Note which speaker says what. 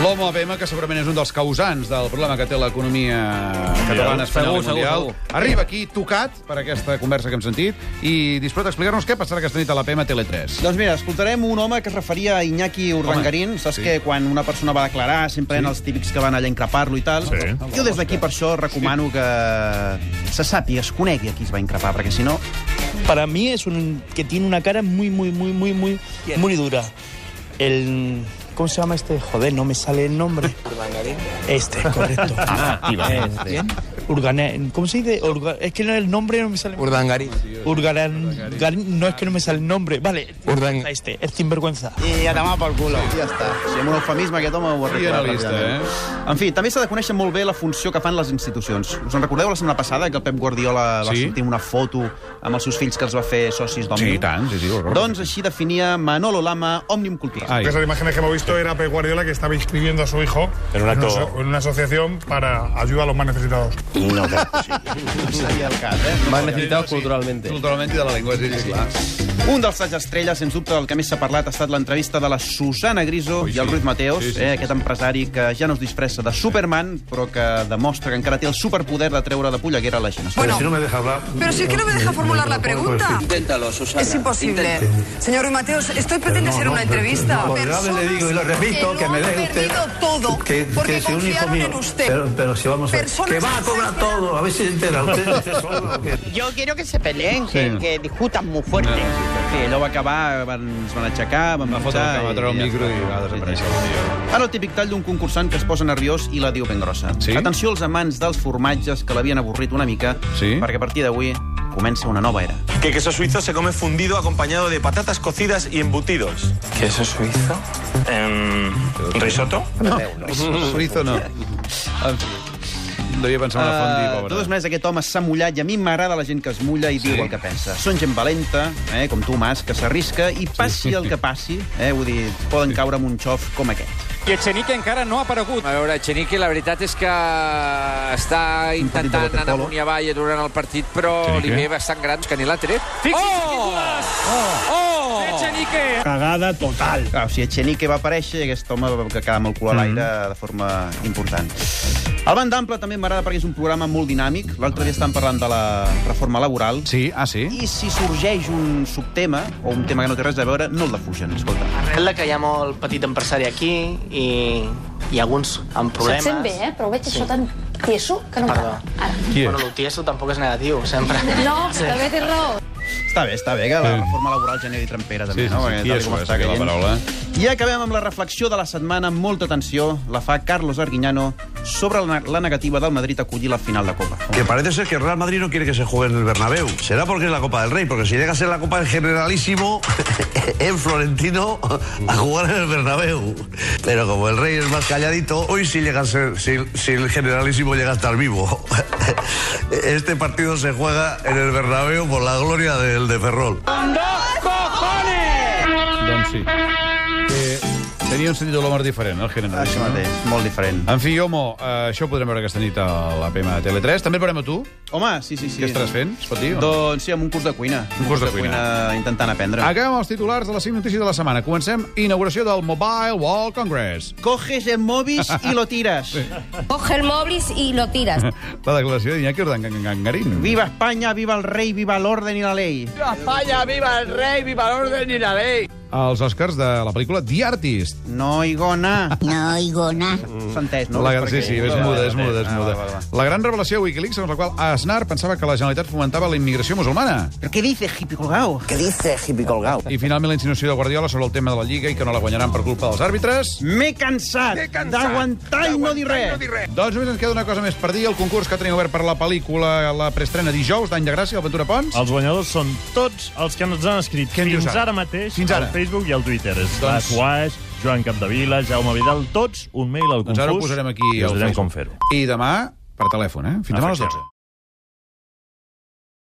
Speaker 1: L'Homo APM, que segurament és un dels causants del problema que té l'economia catalana,
Speaker 2: Segur,
Speaker 1: espanyola i
Speaker 2: segur,
Speaker 1: mundial,
Speaker 2: segur.
Speaker 1: arriba aquí tocat per aquesta conversa que hem sentit i disfruta explicar-nos què passarà aquesta nit a l'APM TV3.
Speaker 3: Doncs mira, escoltarem un home que es referia a Iñaki Urdangarín. Saps
Speaker 1: sí.
Speaker 3: sí. que quan una persona va declarar sempre sí. eren els típics que van allà a increpar-lo i tal.
Speaker 4: Sí.
Speaker 3: Jo des d'aquí per això recomano sí. que se sàpiga, es conegui a qui es va increpar, perquè si no...
Speaker 5: Para mí es un que tiene una cara muy, muy, muy, muy, muy, muy dura. El. ¿Cómo se llama este? Joder, no me sale el nombre. Este, correcto. Este. Urgane- ¿Cómo se dice? Urga- es que no, el nombre no me sale.
Speaker 6: Urdangarín.
Speaker 5: Urgaran. Garín- No es que no me sale el nombre. Vale.
Speaker 6: Urdan-
Speaker 5: Este, es sinvergüenza.
Speaker 3: I a demà pel culo. Ja està. Si amb un eufemisme aquest home ho
Speaker 1: I
Speaker 3: arregla
Speaker 1: analista, eh?
Speaker 3: En fi, també s'ha de conèixer molt bé la funció que fan les institucions. Us en recordeu la setmana passada que el Pep Guardiola va
Speaker 1: Sí.
Speaker 3: sortir amb una foto amb els seus fills que els va fer socis d'Òmnium?
Speaker 1: Sí, i tant, sí, sí, horror.
Speaker 3: Doncs així definia Manolo Lama Òmnium Cultural.
Speaker 1: Ai.
Speaker 4: Esas imágenes que hemos visto era Pep Guardiola que estaba inscribiendo a su hijo
Speaker 7: En un
Speaker 4: una,
Speaker 7: acto-
Speaker 4: aso- en una asociación para ayuda a los más necesitados.
Speaker 3: No seria el cas, eh?
Speaker 2: M'han necessitat culturalment.
Speaker 1: Culturalment i de la llengua, sí, sí, clar.
Speaker 3: Un dels sacs estrelles, sens dubte, del que més s'ha parlat ha estat l'entrevista de la Susana Griso
Speaker 1: Ui,
Speaker 3: i el
Speaker 1: sí.
Speaker 3: Ruiz Mateos,
Speaker 1: Sí, sí,
Speaker 3: eh,
Speaker 1: sí,
Speaker 3: aquest empresari que ja no es disfressa de Superman, però que demostra que encara té el superpoder de treure de polleguera la gent.
Speaker 8: Bueno,
Speaker 4: me deja hablar.
Speaker 8: pero si es que no me deja formular la pregunta.
Speaker 9: Inténtalo, Susana.
Speaker 8: Es imposible. Señor Ruiz Mateos, esto pretende ser una entrevista. Personas que lo han perdido todo porque confiaron en usted.
Speaker 7: si vamos
Speaker 8: a ver, Personas que va a cobrar
Speaker 7: todo, a ver si se entera usted.
Speaker 10: Yo quiero que se peleen,
Speaker 1: Sí.
Speaker 10: que, que discutan muy fuerte.
Speaker 3: Sí, allò va acabar, van, es van aixecar, van
Speaker 1: Va fotre, va treure el micro i va desaparèixer.
Speaker 3: Ara el típic tall d'un concursant que es posa nerviós i la diu ben grossa.
Speaker 1: Sí?
Speaker 3: Atenció als amants dels formatges que l'havien avorrit una mica,
Speaker 1: Sí?
Speaker 3: perquè a partir d'avui comença una nova era.
Speaker 9: Que queso suizo se come fundido acompañado de patatas cocidas y embutidos. Em,
Speaker 6: ¿Queso suizo?
Speaker 9: ¿Risotto?
Speaker 1: Suizo no. En fi, devia pensar en una font
Speaker 3: Uh,
Speaker 1: d'Ivo,
Speaker 3: de totes maneres, aquest home s'ha mullat i a mi m'agrada la gent que es mulla i sí. diu el que pensa. Són gent valenta, eh, com tu, Mas, que s'arrisca i passi el que passi, eh, vull dir, poden caure en un xof com aquest.
Speaker 2: I Echenique encara no ha aparegut.
Speaker 10: A veure, Echenique, la veritat és que està
Speaker 3: intentant anar waterpolo. amunt
Speaker 10: i avall durant el partit, però
Speaker 1: Echenique? li ve
Speaker 10: bastant gran que ni l'ha tret.
Speaker 2: Fixi's oh! golaç! Oh! oh! Echenique!
Speaker 5: Cagada total.
Speaker 3: Clar, o sigui, Echenique va aparèixer i aquest home va quedar amb el cul a l'aire
Speaker 1: Mm-hmm.
Speaker 3: de forma important. El Band Ample també m'agrada perquè és un programa molt dinàmic. L'altre dia estàvem parlant de la reforma laboral.
Speaker 1: Sí, ah, sí?
Speaker 3: I si sorgeix un subtema, o un tema que no té res a veure, no el defugen, escolta.
Speaker 10: És la que hi ha molt petit empresari aquí i, i alguns amb problemes.
Speaker 11: Sent bé, eh? Però ho veig això tan tieso que no em
Speaker 10: Perdó.
Speaker 11: m'agrada. Ara.
Speaker 1: Qui
Speaker 10: Bueno,
Speaker 1: és?
Speaker 10: el tieso tampoc és negatiu, sempre.
Speaker 11: No, també tens raó.
Speaker 3: Està bé, està bé, que la reforma laboral generi trampera,
Speaker 1: Sí,
Speaker 3: també,
Speaker 1: sí,
Speaker 3: no?
Speaker 1: sí,
Speaker 3: Perquè
Speaker 1: qui
Speaker 3: tal
Speaker 1: és
Speaker 3: com
Speaker 1: que
Speaker 3: està
Speaker 1: va dir la
Speaker 3: caient.
Speaker 1: paraula? eh?
Speaker 3: I acabem amb la reflexió de la setmana, amb molta atenció, la fa Carlos Arguiñano sobre la, la negativa del Madrid a acollir la final de Copa.
Speaker 7: Que parece ser que el Real Madrid no quiere que se juegue en el Bernabéu. Será porque es la Copa del Rey, porque si llega a ser la Copa del Generalísimo, en Florentino, a jugar en el Bernabéu. Pero como el Rey es más calladito, hoy sí llega a ser, si, si el Generalísimo llega a estar vivo. Este partido se juega en el Bernabéu por la gloria del de Ferrol.
Speaker 1: Doncs sí. Eh, tenia un sentit de l'humor diferent, el general.
Speaker 3: Això mateix, molt diferent.
Speaker 1: En fi, Homo, eh, això ho podrem veure aquesta nit a la PM de Tele3. També el veurem a tu.
Speaker 3: Home, sí, sí, sí.
Speaker 1: Què estaràs fent? Es pot dir? o no?
Speaker 3: Doncs sí, amb un curs de cuina.
Speaker 1: Un curs de cuina. Ah.
Speaker 3: intentant aprendre.
Speaker 1: Acabem els titulars de les 5 notícies de la setmana. Comencem inauguració del Mobile World Congress.
Speaker 3: Coges el mòbis i lo tiras.
Speaker 11: Coge el mòblis i lo tiras.
Speaker 1: La declaració d'Iñaki Urdangarín.
Speaker 3: Viva Espanya, viva el rei, viva l'orden i la ley.
Speaker 10: Espanya, viva el rei, viva l'orden i la ley.
Speaker 1: Els Oscars de la pel·lícula The Artist.
Speaker 3: No oigo na.
Speaker 11: No oigo nada.
Speaker 3: S'ha entès,
Speaker 1: No,
Speaker 3: no?
Speaker 1: la,
Speaker 3: Perquè-
Speaker 1: Mm. sí, sí, és muda, és muda, és
Speaker 3: Ah,
Speaker 1: muda.
Speaker 3: va, va, va.
Speaker 1: La gran revelació de Wikileaks, segons la qual Aznar pensava que la Generalitat fomentava la immigració musulmana.
Speaker 3: Però què dices, hippie colgao?
Speaker 6: ¿Qué dice hippie colgado?
Speaker 1: I finalment la insinuació de Guardiola sobre el tema de la Lliga i que no la guanyaran per culpa dels àrbitres.
Speaker 3: M'he cansat, d'aguantar i no dir res.
Speaker 1: Doncs només ens queda una cosa més per dir, el concurs que teniu obert per la pel·lícula, la preestrena dijous d'Any de Gràcia, al Ventura Pons.
Speaker 7: Els guanyadors són tots els que ens han escrit
Speaker 1: Què en dius
Speaker 7: fins
Speaker 1: ara?
Speaker 7: ara mateix
Speaker 1: Fins ara.
Speaker 7: al Facebook i al Twitter.
Speaker 1: Doncs-
Speaker 7: Doncs... Suaix, Joan Capdevila, Jaume Vidal, tots un mail al confús.
Speaker 1: Doncs ara ho posarem aquí.
Speaker 7: I us
Speaker 1: al
Speaker 7: direm
Speaker 1: Facebook.
Speaker 7: com fer-ho.
Speaker 1: I demà, per telèfon, eh? Fins demà a les 12.